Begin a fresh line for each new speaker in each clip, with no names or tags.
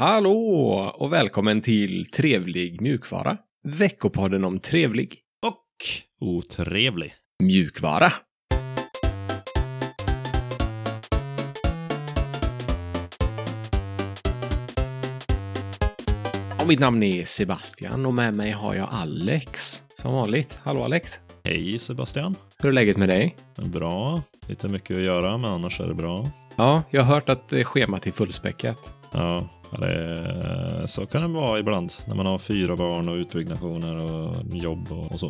Hallå och välkommen till Trevlig mjukvara. Veckopodden om trevlig
och otrevlig.
mjukvara. Och mitt namn är Sebastian och med mig har jag Alex. Som vanligt. Hallå Alex!
Hej Sebastian.
Hur är läget med dig?
Bra. Lite mycket att göra, men annars är det bra.
Ja, jag har hört att eh, schemat är fullspäckat.
Ja, det, så kan det vara ibland när man har fyra barn och utbyggnationer och jobb och, och så.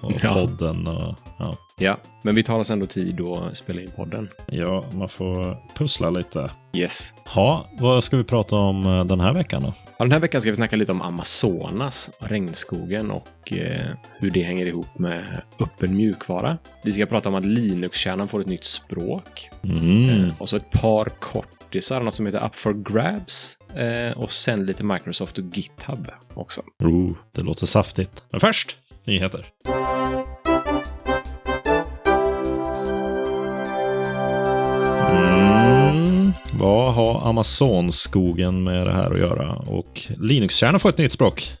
Och
Ja.
podden och ja.
Ja, men vi tar oss ändå tid att spela in podden.
ja, man får pussla lite.
Yes.
Ja, vad ska vi prata om eh, den här veckan då?
Ja, den här veckan ska vi snacka lite om Amazonas, regnskogen och eh, hur det hänger ihop med öppen mjukvara. Vi ska prata om att Linux-kärnan får ett nytt språk
Mm.
eh, och så ett par kortisar, något som heter Up for Grabs eh, och sen lite Microsoft och GitHub också.
Oh, det låter saftigt. Men först, nyheter. Mm, vad har Amazonskogen med det här att göra? Och Linux-kärnan får ett nytt språk.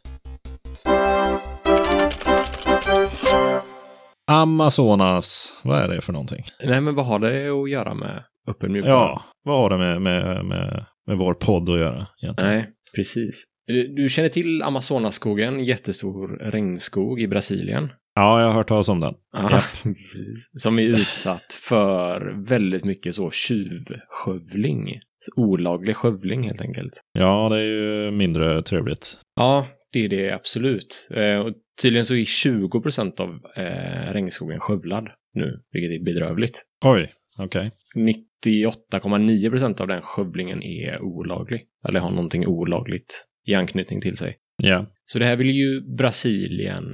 Amazonas, vad är det för någonting?
Nej, men vad har det att göra med öppen mjukvara?
Ja, vad har det med, med, med, med vår podd att göra? Egentligen?
Nej, precis. Du, du känner till Amazonasskogen, jättestor regnskog i Brasilien.
Ja, jag har hört talas om den.
Ja, precis. som är utsatt för väldigt mycket så tjuvskövling. Så Olaglig skövling helt enkelt.
Ja, det är ju mindre trevligt.
Ja, det är det absolut. Eh, och tydligen så är 20 procent av eh, regnskogen skövlad nu, vilket är bedrövligt.
Oj, okej.
98,9 procent av den skövlingen är olaglig. Eller har någonting olagligt i anknytning till sig.
Ja,
Så det här vill ju Brasilien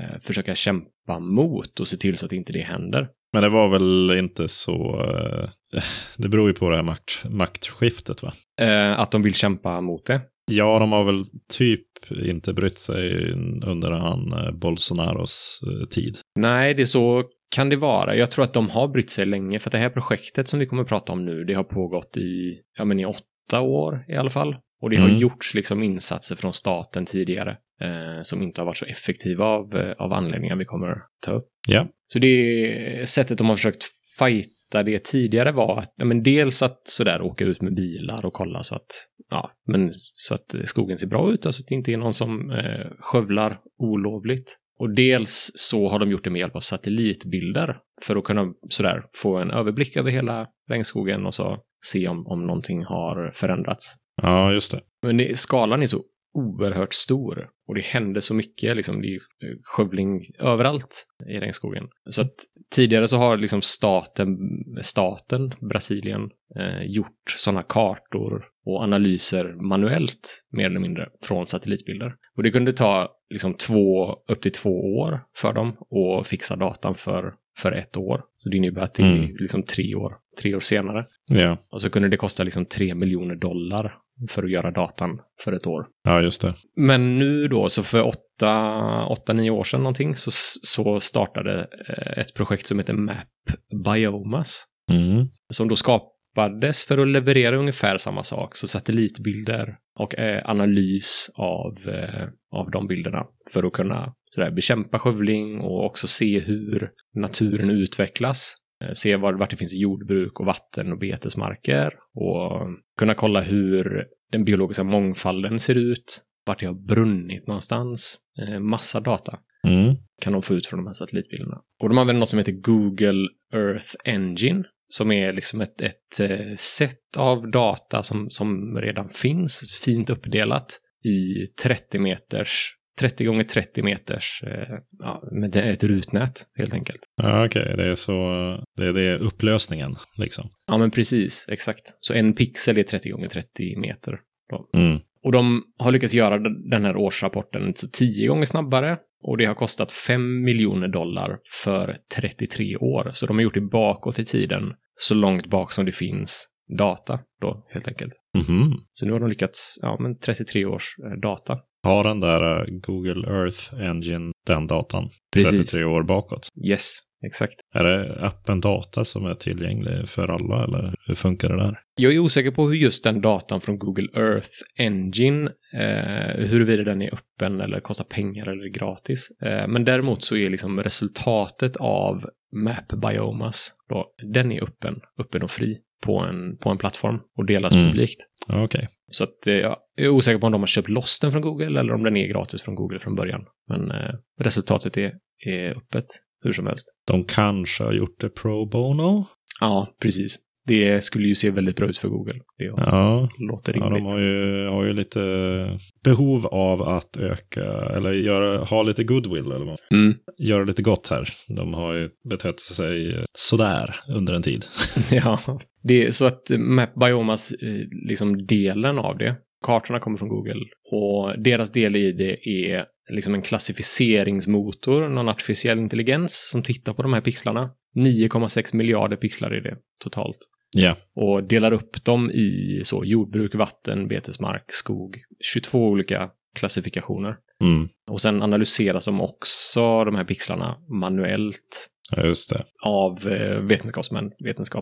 eh, försöka kämpa mot och se till så att inte det händer.
men det var väl inte så... eh, Det beror ju på det här makt, maktskiftet va?
Eh, att de vill kämpa mot det.
Ja, de har väl typ inte brytt sig under han eh, Bolsonaros eh, tid.
Nej, det är så kan det vara. Jag tror att de har brytt sig länge för att det här projektet som vi kommer att prata om nu, det har pågått i, ja men i åtta år i alla fall. Och det har
Mm.
gjorts liksom insatser från staten tidigare eh, som inte har varit så effektiva av, eh, av anledningar vi kommer ta upp.
Ja.
Så det sättet de har försökt fighta det tidigare var att, ja, men dels att sådär åka ut med bilar och kolla så att, ja, men så att skogen ser bra ut, alltså att det inte är någon som eh, skövlar olovligt. Och dels så har de gjort det med hjälp av satellitbilder för att kunna sådär få en överblick över hela regnskogen och så se om, om någonting har förändrats.
Ja, just det.
Men det, skalan är så oerhört stor och det händer så mycket. Liksom, det är ju skövling överallt i regnskogen. Så att tidigare så har liksom staten, staten Brasilien, eh, gjort sådana kartor och analyser manuellt, mer eller mindre, från satellitbilder. Och det kunde ta liksom två, upp till två år för dem att fixa datan för, för ett år. Så det innebär att det är
Mm.
liksom tre, år, tre år senare.
Ja,
Och så kunde det kosta liksom 3 miljoner dollar för att göra datan för ett år.
ja just det.
Men nu då, så för 8-9 år sedan någonting, så, så startade eh, ett projekt som heter Map Biomas.
Mm.
Som då skapades för att leverera ungefär samma sak, så satellitbilder och eh, analys av, eh, av de bilderna för att kunna sådär, bekämpa skövling och också se hur naturen utvecklas Eh, se var, vart det finns jordbruk och vatten och betesmarker och kunna kolla hur den biologiska mångfalden ser ut, vart det har brunnit någonstans. Eh, Massa data
Mm.
kan de få ut från de här satellitbilderna. Och de använder något som heter Google Earth Engine som är liksom ett, ett eh, set av data som, som redan finns, fint uppdelat i 30 meters 30 gånger 30 meters, eh, ja, men det är ett rutnät helt enkelt.
Ja, okej, det är så... Det är, det är upplösningen liksom.
Ja, men precis. Exakt. Så en pixel är 30 gånger 30 meter.
Mm.
Och de har lyckats göra d- den här årsrapporten så 10 gånger snabbare. Och det har kostat 5 miljoner dollar för 33 år. Så de har gjort det bakåt i tiden, så långt bak som det finns data då, helt enkelt.
Mhm.
Så nu har de lyckats, ja men 33 års eh, data.
Har den där eh, Google Earth Engine den datan 33 år bakåt?
Yes. exakt.
Är det appen data som är tillgänglig för alla eller hur funkar det där?
Jag är osäker på hur just den datan från Google Earth Engine, eh, huruvida den är öppen eller kostar pengar eller är gratis. Eh, men däremot så är liksom resultatet av Map Biomas, då, den är öppen, öppen och fri på en, på en plattform och delas
Mm.
publikt.
Ja, Okej.
Så att, eh, jag är osäker på om de har köpt loss den från Google eller om den är gratis från Google från början. Men eh, resultatet är, är öppet hur som helst.
De kanske har gjort det pro bono.
Ja, precis. Det skulle ju se väldigt bra ut för Google. Det
Ja,
låter
ja
rimligt.
de har ju, har ju lite behov av att öka eller göra, ha lite goodwill eller vad.
Mm.
Göra lite gott här. De har ju betett sig sådär under en tid.
Ja, det är så att Map Biomas, eh, liksom delen av det, kartorna kommer från Google och deras del i det är liksom en klassificeringsmotor, någon artificiell intelligens som tittar på de här pixlarna. 9,6 miljarder pixlar är det totalt.
Ja.
Och delar upp dem i så jordbruk, vatten, betesmark, skog, 22 olika klassifikationer.
Mm.
Och sen analyseras de också, de här pixlarna, manuellt
Ja, just det.
av eh, vetenskapsmän,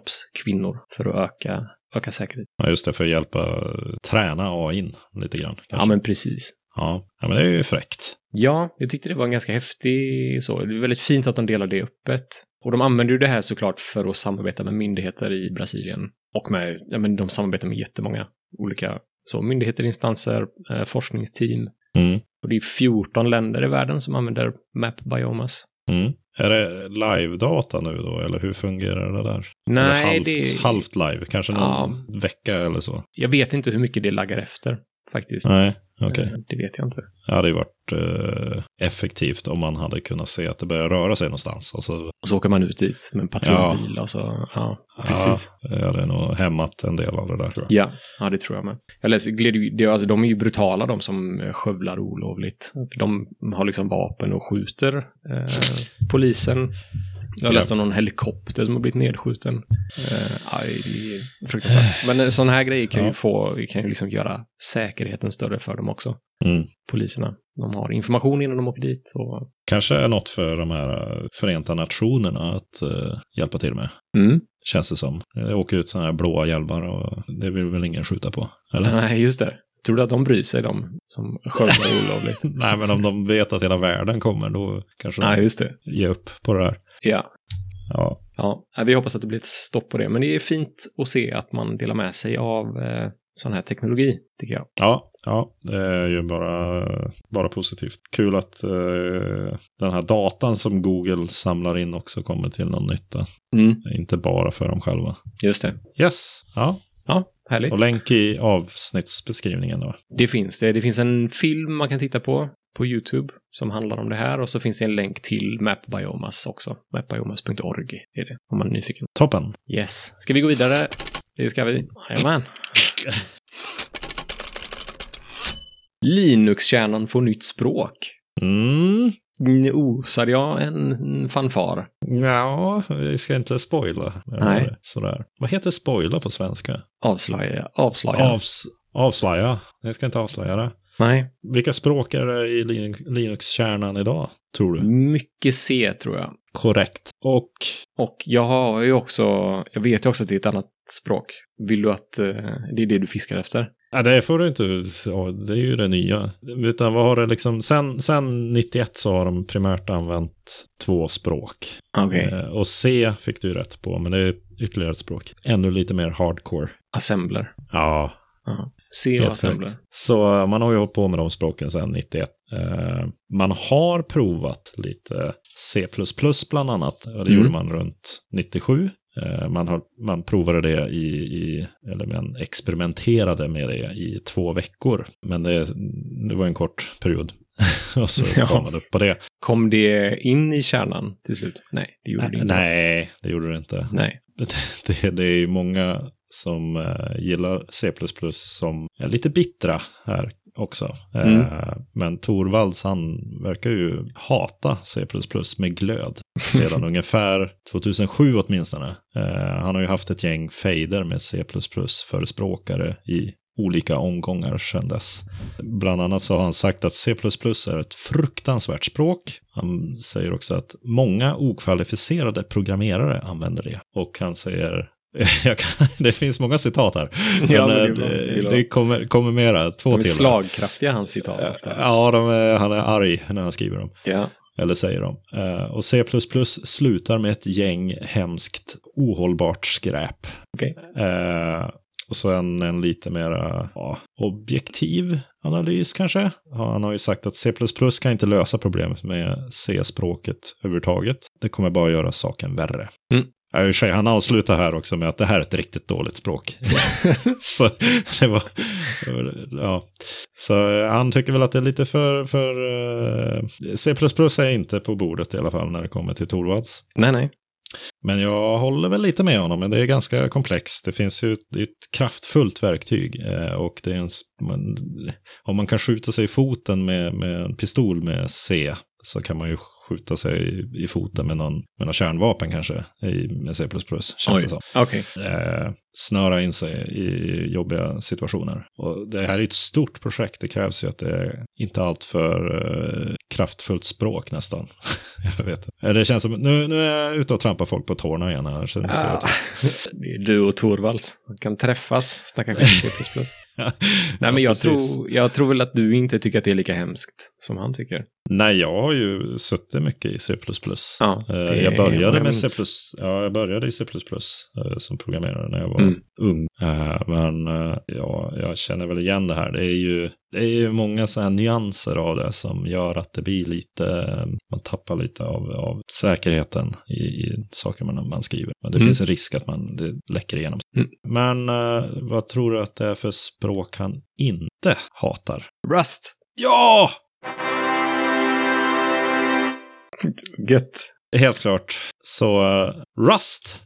vetenskapskvinnor för att öka, öka säkerhet.
Ja, just det, för att hjälpa träna AI lite grann.
Ja,
Kanske.
men precis.
Ja. ja, men det är ju fräckt.
Ja, jag tyckte det var en ganska häftig så. Det är väldigt fint att de delar det öppet. Och de använder ju det här såklart för att samarbeta med myndigheter i Brasilien. Och med, ja men de samarbetar med jättemånga olika så, myndigheter, instanser, eh, forskningsteam.
Mm.
Och det är 14 länder i världen som använder Map Biomas.
Mm. Är det live-data nu då, eller hur fungerar det där? eller
Nej,
halvt,
det
halvt live, kanske någon
Ja.
vecka eller så.
jag vet inte hur mycket det laggar efter faktiskt.
Nej, Ah, okej.
Eh, Det vet jag inte.
Det hade ju varit eh, effektivt om man hade kunnat se att det börjar röra sig någonstans. Alltså, Och så,
Och så åker man ut dit med en patrullbil och så, ja, precis.
Ja, det eh, hade nog hämmat en del av det där tror jag.
Ja, ja, det tror jag med. Jag läser, gled, det, alltså, de är ju brutala de som eh, skövlar olovligt. De har liksom vapen och skjuter eh, polisen. Jag läste om någon helikopter som har blivit nedskjuten. Eh, aj, det är fruktansvärt. Men eh, sådana här grejer kan ju
Ja.
få, vi kan ju liksom göra säkerheten större för dem också.
Mm.
Poliserna. De har information innan de åker dit. Och,
Kanske är något för de här eh, Förenta Nationerna att eh, hjälpa till med.
mm.
Känns det som. Det åker ut sådana här blåa hjälmar och det vill väl ingen skjuta på? Eller?
Nej, just det. Tror du att de bryr sig, de som skövlar olovligt?
Nej, men om de vet att hela världen kommer då kanske
Nej,
de
just det.
ger upp på det där.
Ja.
Ja,
Ja, nej, vi hoppas att det blir ett stopp på det, men det är fint att se att man delar med sig av eh, sån här teknologi, tycker jag.
ja, ja det är ju bara, bara positivt. Kul att eh, den här datan som Google samlar in också kommer till någon nytta. Inte bara för dem själva.
Just det.
Yes, ja.
Ja, härligt.
Och länk i avsnittsbeskrivningen då.
Det finns det. Det finns en film man kan titta på på YouTube som handlar om det här och så finns det en länk till Map Biomas också. Mapbiomas.org är det, om man är nyfiken.
Toppen.
Yes. Ska vi gå vidare? Det ska vi. Jajamän. Linux-kärnan får nytt språk.
Mm.
Mm, Osade jag en fanfar?
Ja, vi ska inte spoila.
Nej.
Sådär. Vad heter spoila på svenska?
Avslöja. Avslöja.
Avs, avslöja. Jag ska inte avslöja det.
Nej.
Vilka språk är det i Linux- Linux-kärnan idag, tror du?
Mycket C tror jag.
Korrekt. Och
Och jag har ju också, jag vet ju också att det är ett annat språk. Vill du att eh, det är det du fiskar efter?
ja, det får du inte, ja, det är ju det nya. Utan vad har det liksom, sen, sen 91 så har de primärt använt två språk.
Okej.
Eh, och C fick du ju rätt på, men det är ytterligare ett språk. Ännu lite mer hardcore.
Assembler.
Ja,
C
Helt
och assembler.
Så eh, man har ju hållit på med de språken sedan 91. Eh, Man har provat lite C++ bland annat. Och Det
Mm.
gjorde man runt 97. Eh, Man, har, man provade det i, i, eller man experimenterade med det i två veckor. Men det, det var en kort period. Och så
Ja.
kom man upp på det.
Kom det in i kärnan till slut? Nej, det gjorde det inte.
Nej, det gjorde det inte.
Nej.
Det, det, det är ju många som eh, gillar C++ som är lite bittra här också. Eh, men Torvalds, han verkar ju hata C++ med glöd sedan ungefär 2007 åtminstone. Eh, han har ju haft ett gäng fejder med C++ förespråkare i olika omgångar sedan dess. Bland annat så har han sagt att C++ är ett fruktansvärt språk. Han säger också att många okvalificerade programmerare använder det. Och han säger jag kan, det finns många citat här.
Ja,
men,
men det är
eh,
bra.
det
Det är bra.
kommer, kommer mera, två
De är
till.
slagkraftiga hans citat. ofta.
Ja, de är, han är arg när han skriver dem.
Ja.
Eller säger de. Eh, Och C++ slutar med ett gäng hemskt ohållbart skräp.
Okej.
Eh, Och sen en lite mer ja, objektiv analys kanske. Ja, Han har ju sagt att C++ kan inte lösa problemet med C-språket överhuvudtaget. Det kommer bara göra saken värre.
Mm.
Ja, i och för sig, han avslutar här också med att det här är ett riktigt dåligt språk. så det var, det var- ja. Så eh, han tycker väl att det är lite för, för eh, C++ är inte på bordet i alla fall när det kommer till Torvalds.
Nej, nej.
Men jag håller väl lite med honom, men det är ganska komplext. Det finns ju ett, det är ett kraftfullt verktyg eh, och det är en, s- man, om man kan skjuta sig i foten med, med en pistol med C så kan man ju skjuta sig i, i foten med någon, med någon kärnvapen kanske i, med C++. Känns det som
Okej.
eh, snöra in sig i jobbiga situationer. Och det här är ett stort projekt. Det krävs ju att det är inte allt för eh, kraftfullt språk nästan. jag vet inte. Eh, Det känns som, nu, nu är jag ute och trampar folk på tårna igen här. Så nu ska jag
Ah.
ta-
Det är Du och Torvalds Man kan träffas, snacka skit C++. Nej, men
Ja,
jag
precis.
tror, jag tror väl att du inte tycker att det är lika hemskt som han tycker.
Nej, jag har ju suttit mycket i C++.
Ja,
Eh,
det
jag
är
började
vad jag
med C++,
minns.
ja, jag började i C++ eh, som programmerare när jag var
Mm.
ung. Eh, Men eh, ja, jag känner väl igen det här. Det är ju, det är ju många så här nyanser av det som gör att det blir lite, eh, man tappar lite av, av säkerheten i, i saker man, man skriver. Men det
Mm.
finns en risk att man, det läcker igenom.
Mm.
Men eh, vad tror du att det är för språk han inte hatar?
Rust!
Ja!
Gött.
Helt klart. Så eh, Rust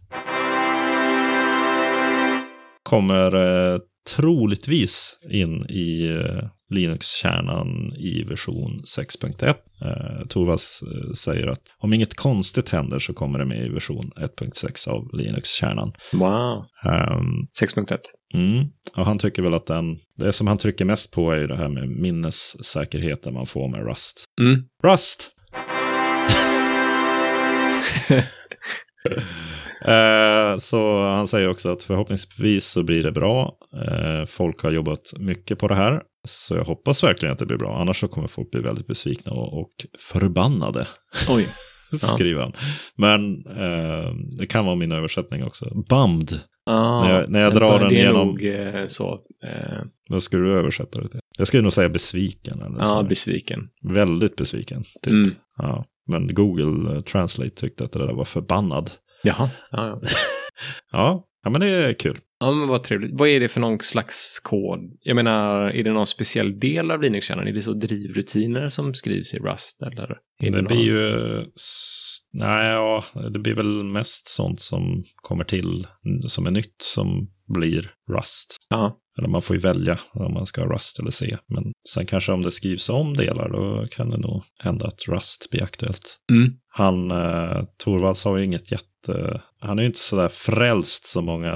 kommer uh, troligtvis in i eh, Linux-kärnan i version 6.1. Uh, Torvalds eh, säger att om inget konstigt händer så kommer det med i version 1.6 av Linux-kärnan.
Wow.
Ehm,
6.1.
Mm. Och han tycker väl att den, det som han trycker mest på är ju det här med minnessäkerheten man får med Rust.
Mm.
Rust! Eh, Så han säger också att förhoppningsvis så blir det bra. Eh, Folk har jobbat mycket på det här. Så jag hoppas verkligen att det blir bra. Annars så kommer folk bli väldigt besvikna och och förbannade.
Oj.
Skriver han. Men eh, det kan vara min översättning också. Bummed.
Ah,
När jag- när jag
men
drar
det
den
är
genom-
Nog, eh, så, eh,
Vad skulle du översätta det till? Jag skulle nog säga besviken. Eller
ja,
så.
besviken.
Väldigt besviken. Alltså. Typ.
Mm.
Ja. Men Google eh, Translate tyckte att det där var förbannad.
Jaha. Ja, ja.
Ja, ja men det är kul.
ja, men vad trevligt. Vad är det för någon slags kod? Jag menar, är det någon speciell del av Linux-kärnan? Är det så drivrutiner som skrivs i Rust? Eller är
Det,
någon-
blir ju... s- Nej, ja, det blir väl mest sånt som kommer till n- som är nytt som blir Rust.
Ja.
Eller man får ju välja om man ska ha Rust eller C. Men sen kanske om det skrivs om delar då kan det nog hända att Rust blir aktuellt.
Mm.
Han, eh, Torvalds har ju inget jätte... Han är ju inte sådär frälst som många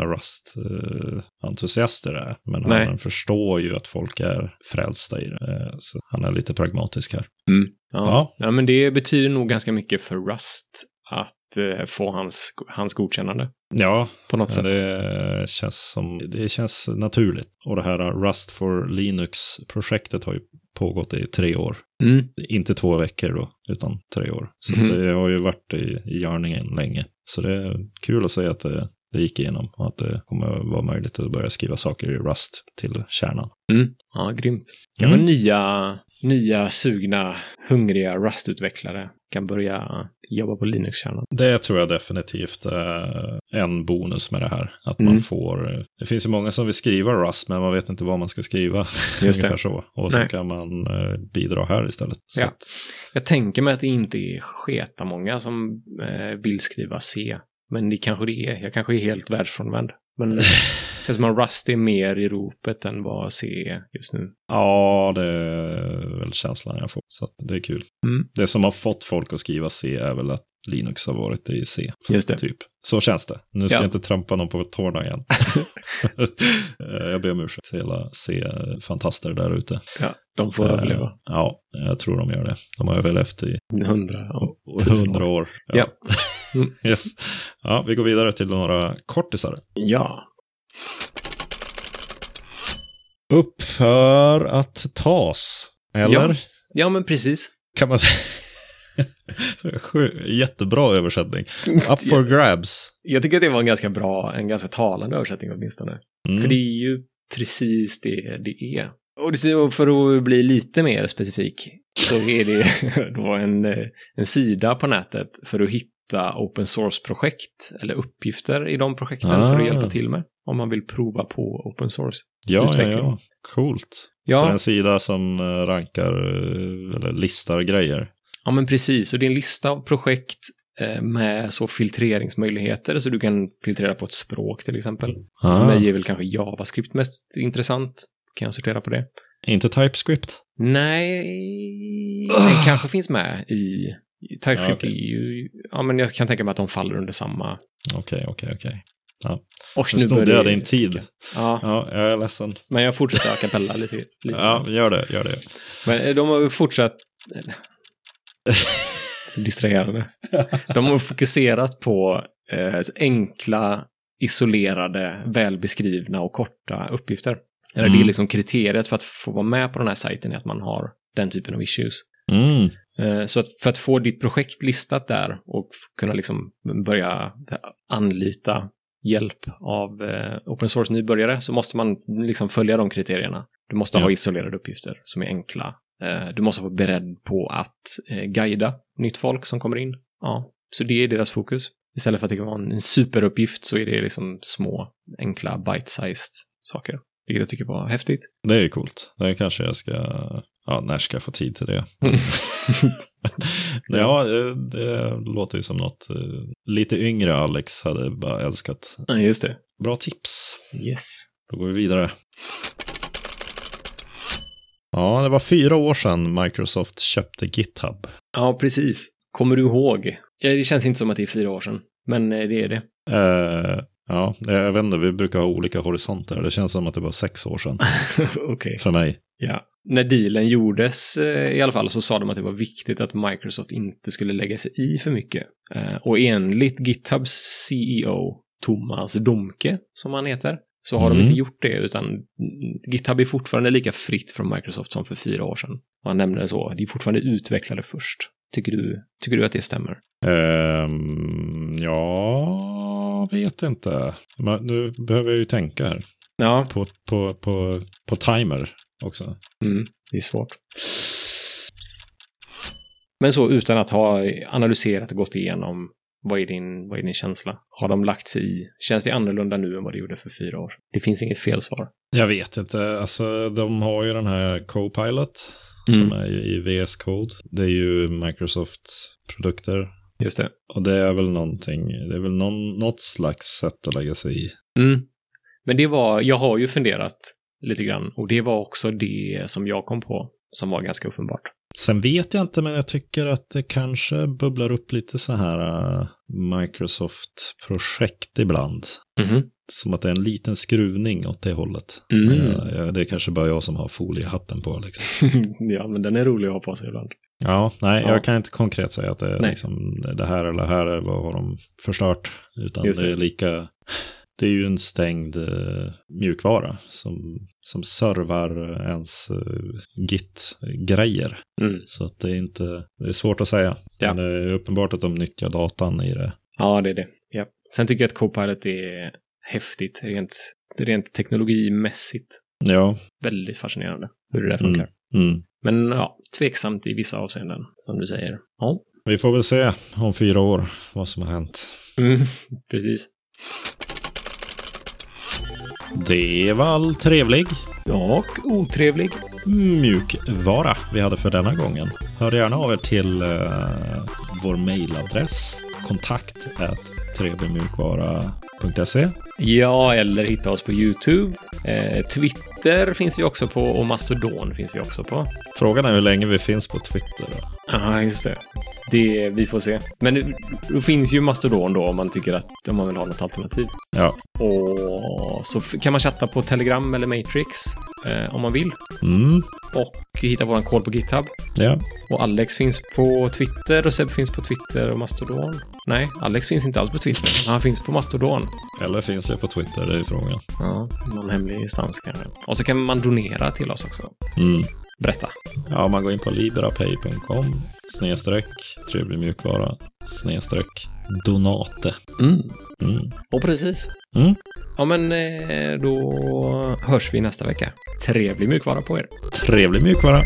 Rust-entusiaster är. Men
Nej.
han förstår ju att folk är frälsta i det. Eh, Så han är lite pragmatisk här.
Ja.
Ja.
Ja. men det betyder nog ganska mycket för Rust att eh, få hans, hans godkännande
Ja,
på något
Ja,
sätt.
det känns, som, det känns naturligt. Och det här Rust for Linux-projektet har ju pågått i tre år.
Mm.
Inte två veckor då, utan tre år. Så
Mhm.
det har ju varit i, i görningen länge. Så det är kul att säga att det, det gick igenom och att det kommer vara möjligt att börja skriva saker i Rust till kärnan.
Mm. Ja, grymt. Kanske
Mm.
nya, nya, sugna, hungriga Rust-utvecklare kan börja jobba på Linux-kärnan.
Det tror jag definitivt är en bonus med det här. Att man
Mm.
får... Det finns ju många som vill skriva Rust, men man vet inte vad man ska skriva.
Just det.
Ungefär så. Och så
Nej.
kan man eh, bidra här istället. Så
Ja.
att,
Jag tänker mig att det inte är sketamånga som eh, vill skriva C. Men det kanske det är. Jag kanske är helt världsfrånvänd. Men eftersom att Rust är mer i ropet än vad C är just nu.
ja, det är väl känslan jag får. Så att det är kul.
Mm.
Det som har fått folk att skriva C är väl att Linux har varit i C.
Just det.
Typ. Så känns det. Nu ska
Ja.
jag inte trampa någon på tårna igen. Eh, jag ber om ursäkt till alla C-fantaster där ute.
Ja, de får
Eh,
överleva.
Ja, jag tror de gör det. De har överlevt i
Hundra. och tusen
hundra
år.
år.
Ja. Mm.
yes. ja, vi går vidare till några kortisar.
Ja.
Upp för att tas. Eller?
Ja. ja, men precis.
Kan man...
Sju- Jättebra översättning. Up for grabs.
Jag tycker att det var en ganska bra, en ganska talande översättning åtminstone.
Mm.
För det är ju precis det det är. Och det- och för att bli lite mer specifik så är det då en, eh, en sida på nätet för att hitta open source-projekt eller uppgifter i de projekten för
Ah.
att hjälpa till med om man vill prova på open source.
Ja, ja,
Utveckling.
ja. Coolt.
Ja.
Så det är en sida som eh, rankar eh, eller listar grejer.
Ja, men precis. Och det är en lista av projekt eh, med så filtreringsmöjligheter så du kan filtrera på ett språk till exempel. Så
Ah.
för mig är väl kanske JavaScript mest intressant. Kan jag sortera på det?
Inte TypeScript.
Nej,
Ugh.
den kanske finns med i... i TypeScript
Ja, okej.
är ju... Ja, men jag kan tänka mig att de faller under samma...
Okej, okej, okej.
Och
Nu snodde jag din tid.
Ja,
Ja, jag är ledsen.
men jag fortsätter a cappella lite. lite.
Ja, gör det, gör det.
Men eh, de har ju fortsatt... Så distraherande. De har fokuserat på eh, enkla, isolerade, välbeskrivna och korta uppgifter. Eller Det
Mm.
är liksom kriteriet för att få vara med på den här sajten är att man har den typen av issues.
Mm.
Eh, Så att för att få ditt projekt listat där och f- kunna liksom börja anlita hjälp av eh, open source-nybörjare så måste man liksom följa de kriterierna. Du måste
Ja.
ha isolerade uppgifter som är enkla. Eh, Du måste vara beredd på att eh, guida nytt folk som kommer in. Ja, så det är deras fokus. Istället för att det kan vara en en superuppgift så är det liksom små, enkla, bite-sized saker. Vilket jag tycker var häftigt.
Det är ju coolt. Det kanske jag ska... Ja, när ska jag få tid till det?
Mm.
ja, eh, det låter ju som något eh, lite yngre Alex hade bara älskat.
Ja, just det.
Bra tips.
Yes.
Då går vi vidare. Ja, det var fyra år sedan Microsoft köpte GitHub.
Ja, precis. Kommer du ihåg? Ja, det känns inte som att det är fyra år sedan, men eh, det är det.
Eh, ja, jag vet inte, vi brukar ha olika horisonter. Det känns som att det var sex år sedan
Okej.
för mig.
Ja. När dealen gjordes eh, i alla fall så sa de att det var viktigt att Microsoft inte skulle lägga sig i för mycket. Eh, Och enligt GitHubs CEO Thomas Domke, som han heter, så har
Mm.
de inte gjort det utan mm, GitHub är fortfarande lika fritt från Microsoft som för fyra år sedan. Och Han nämner det så, det är fortfarande utvecklare först. Tycker du, tycker du att det stämmer?
Ehm, ja, vet inte. Men nu behöver jag ju tänka här.
Ja,
På, på, på, på timer också.
Mm, det är svårt. Men så utan att ha analyserat och gått igenom vad är, din, vad är din känsla? Har de lagt sig i? Känns det annorlunda nu än vad det gjorde för fyra år? Det finns inget fel svar.
Jag vet inte. Alltså, de har ju den här Copilot
Mm.
som är ju i VS Code. Det är ju Microsofts produkter.
Just det.
Och det är väl någonting, det är väl någon, något slags sätt att lägga sig i.
Mm. Men det var, jag har ju funderat lite grann och det var också det som jag kom på som var ganska uppenbart.
Sen vet jag inte, men jag tycker att det kanske bubblar upp lite så här eh, Microsoft-projekt ibland.
Mm-hmm.
Som att det är en liten skruvning åt det hållet.
Mm.
Men jag- jag- det är kanske bara jag som har foliehatten på. Liksom.
ja, men den är rolig att ha på sig ibland.
Ja, nej,
Ja.
jag kan inte konkret säga att det är
Nej.
liksom det här eller det här, är vad har de förstört? Utan
Just
det.
det.
är lika... Det är ju en stängd eh, mjukvara som, som servar ens eh, Git-grejer.
Mm.
Så att det är inte... Det är svårt att säga.
Ja.
Men det är uppenbart att de nyttjar datan i det.
Ja, det är det. Ja. Sen tycker jag att Copilot är häftigt rent, rent teknologimässigt.
Ja.
väldigt fascinerande hur det där
Mm.
funkar.
Mm.
Men ja, tveksamt i vissa avseenden, som du säger. Ja,
Vi får väl se om fyra år vad som har hänt.
mm, precis.
Det var all trevlig
Ja, och otrevlig.
mjukvara vi hade för denna gången. Hör gärna av er till eh, vår mejladress kontakt trevligmjukvara.se.
Ja, eller hitta oss på YouTube. Eh, Twitter finns vi också på och Mastodon finns vi också på.
Frågan är hur länge vi finns på Twitter. då.
Ja, just det. Det, vi får se. Men det, det finns ju Mastodon då om man tycker att om man vill ha något alternativ.
Ja.
Och så f- kan man chatta på Telegram eller Matrix eh, om man vill.
Mm.
Och hitta våran kod på GitHub.
Ja.
Och Alex finns på Twitter och Seb finns på Twitter och Mastodon. Nej, Alex finns inte alls på Twitter. men Han finns på Mastodon.
Eller finns jag på Twitter? Det är frågan.
Ja, någon hemlig instans kanske. Och så kan man donera till oss också.
Mm.
Berätta.
Ja, man går in på lidrapay.com snedstreck trevlig mjukvara snedstreck donate. Mm.
Och precis.
Mm.
Ja, men eh, då hörs vi nästa vecka. Trevlig mjukvara på er.
Trevlig mjukvara.